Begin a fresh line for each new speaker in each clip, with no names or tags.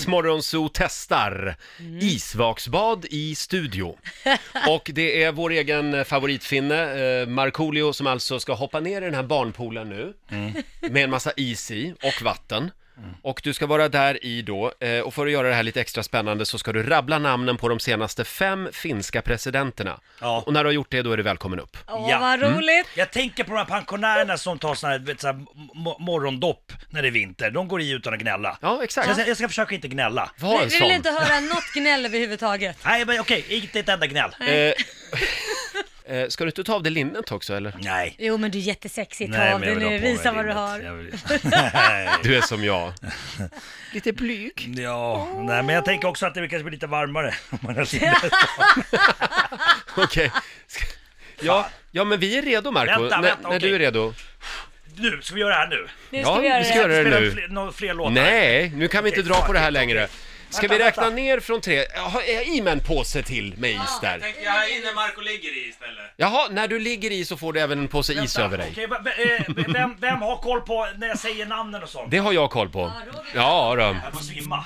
Riksmorgonzoo testar
Mm.
isvaksbad i studio. Och det är vår egen favoritfinne, eh, Markoolio, som alltså ska hoppa ner i den här barnpoolen nu
Mm.
med en massa is i och vatten. Och du ska vara där i då, eh, och för att göra det här lite extra spännande så ska du rabbla namnen på de senaste fem finska presidenterna.
Ja.
Och när du har gjort det, då är du välkommen upp.
Åh,
Ja. Mm.
vad roligt!
Jag tänker på de här pensionärerna som tar såna här, vet, så här mo- morgondopp när det är vinter. De går i utan att gnälla.
Ja, exakt.
Så jag, ska- jag ska försöka inte gnälla.
Var
Vi,
en
vi vill
sån.
inte höra något gnäll överhuvudtaget.
Nej, men okej, inte ett enda gnäll.
Eh, eh, ska du inte ta av dig linnet också, eller?
Nej.
Jo, men du är jättesexig. Ta
Nej,
av
men jag
dig
vill ha
nu.
på mig
Visa vad du
linnet.
har.
Jag vill-
Du är som jag. Lite blyg.
Ja, nej, men jag tänker också att det kanske blir lite varmare om man har linnet.
Okej. Ska- Ja, ja, men vi är redo Marco.
Vänta,
När-
vänta,
när
okej.
du är redo.
Nu, ska vi göra det här nu?
Nu ska
Ja,
vi göra
vi ska
det.
göra det.
Spela
nu?
fler, några fler låtar?
Nej, nu kan vi
Okej,
inte dra på det här
okej,
längre. Ska
Vänta,
vi räkna
vänta.
ner från tre? Jaha, är jag i med en påse till med is där?
Tänkte jag här inne Marco ligger i istället.
Jaha, när du ligger i så får du även en påse is
Vänta,
över dig.
okej, va- va- eh, vem, vem har koll på när jag säger namnen och sånt?
Det har jag koll på.
Roger.
Ja, då.
Jag får svimma.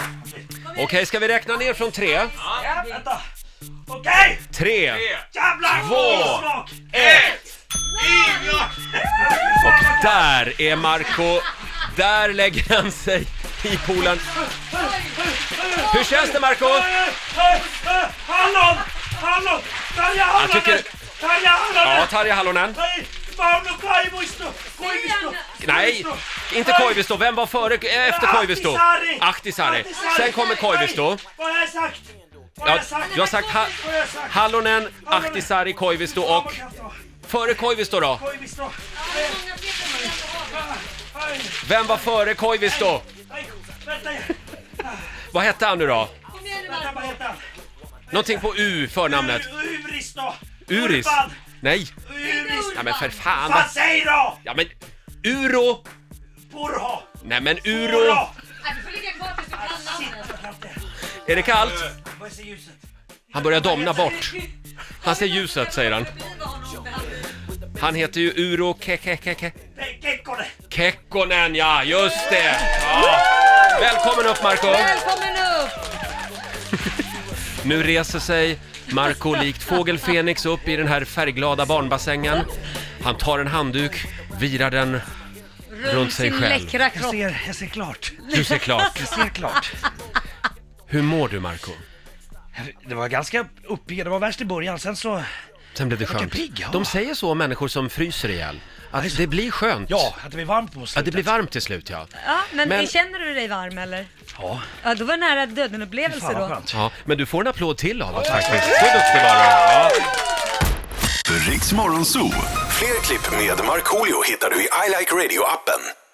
Okej.
Okej, ska vi räkna ner från tre?
Ja, vänta. Okej!
Tre.
Jävlar!
Två.
Isvak!
Och där är Marco. Där lägger han sig i poolen. Hur känns det Marco?
Hallon! Hallon! Tarja
Jag tycker-
Halonen! Tarja
Ja,
Halonen!
Tarja Halonen.
Hei, Mauno Koivisto! Koivisto!
Nej, inte Koivisto. Vem var före, eh, efter Koivisto?
Ahtisaari!
Ahtisaari.
Ahtisaari!
Sen kommer Koivisto.
Vad har jag sagt? Vad har
Ja,
jag sagt?
du har sagt ha
Vad har jag sagt?
Hallonen, Ahtisaari, Koivisto och...
Hamakatto,
Före Koivisto då?
Koivisto! Hej,
Vem var före Koivisto?
hej, Vänta,
Vad hette han nu då?
vänta, vad heter han?
Någonting på U, förnamnet.
Ur- Uristo!
Uris?
Urban!
Nej.
Uris!
Ja, men för fan.
Vad säger då?
Ja, men Uro.
Porho!
Nej, men Uro.
Du får ligga kvar tills du kan
Shit, jag kan inte.
Är det kallt?
Vad säger ljuset?
Han börjar domna bort. Han ser ljuset, säger han. Han heter ju Uro Kekekeke.
Nej, Kekkonen!
Kekkonen, ja, just det. Ja. Välkommen upp, Marco.
Välkommen upp!
Nu reser sig Marco likt fågel Fenix upp i den här färgglada barnbassängen. Han tar en handduk, virar den. Runt sig
sin
själv.
läckra kropp.
ser, jag ser klart.
Du ser klart.
Jag ser klart.
Hur mår du Marco?
Det var ganska uppgivet, det var värst i början, sen så...
Sen blev det
Jag är
skönt.
pigg, ja.
De säger så om människor som fryser ihjäl. Att det blir skönt.
Ja, att det blev varmt på
Att det
slutet.
blir varmt till slut, ja.
Ja, men,
Men-
känner du dig varm eller?
Ja,
Ja, då var det nära döden-upplevelse
fan vad
då.
skönt.
ja. Men du får en applåd till av oss faktiskt. Så duktig var du. Ja.
Riks Morgonzoo.
Fler klipp med Markoolio hittar du i I like radio-appen.